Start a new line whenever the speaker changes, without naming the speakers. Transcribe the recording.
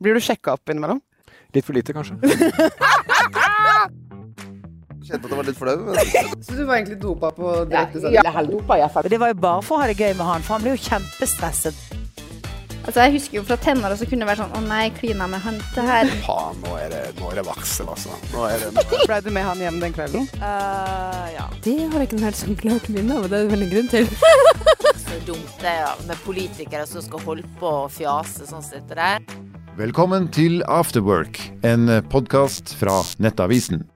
Blir du sjekka opp innimellom?
Litt for lite, kanskje.
Kjente at det var litt flau. men-
Så du var egentlig dopa på direktesending?
Ja, halvdopa, i hvert fall.
Det var jo bare for å ha det gøy med han, for han ble jo kjempestresset.
Altså, jeg husker jo fra tenåra så kunne det vært sånn Å nei, klina med han. Det her
Faen, nå er det, nå er det vaksel, altså. Nå er det,
Blei du med han hjem den kvelden?
ja.
Det har jeg ikke noe helt sånn klart minne av, og det er det vel en grunn til.
Så dumt det er med politikere som skal holde på å fjase sånn som dette der.
Velkommen til Afterwork, en podkast fra Nettavisen.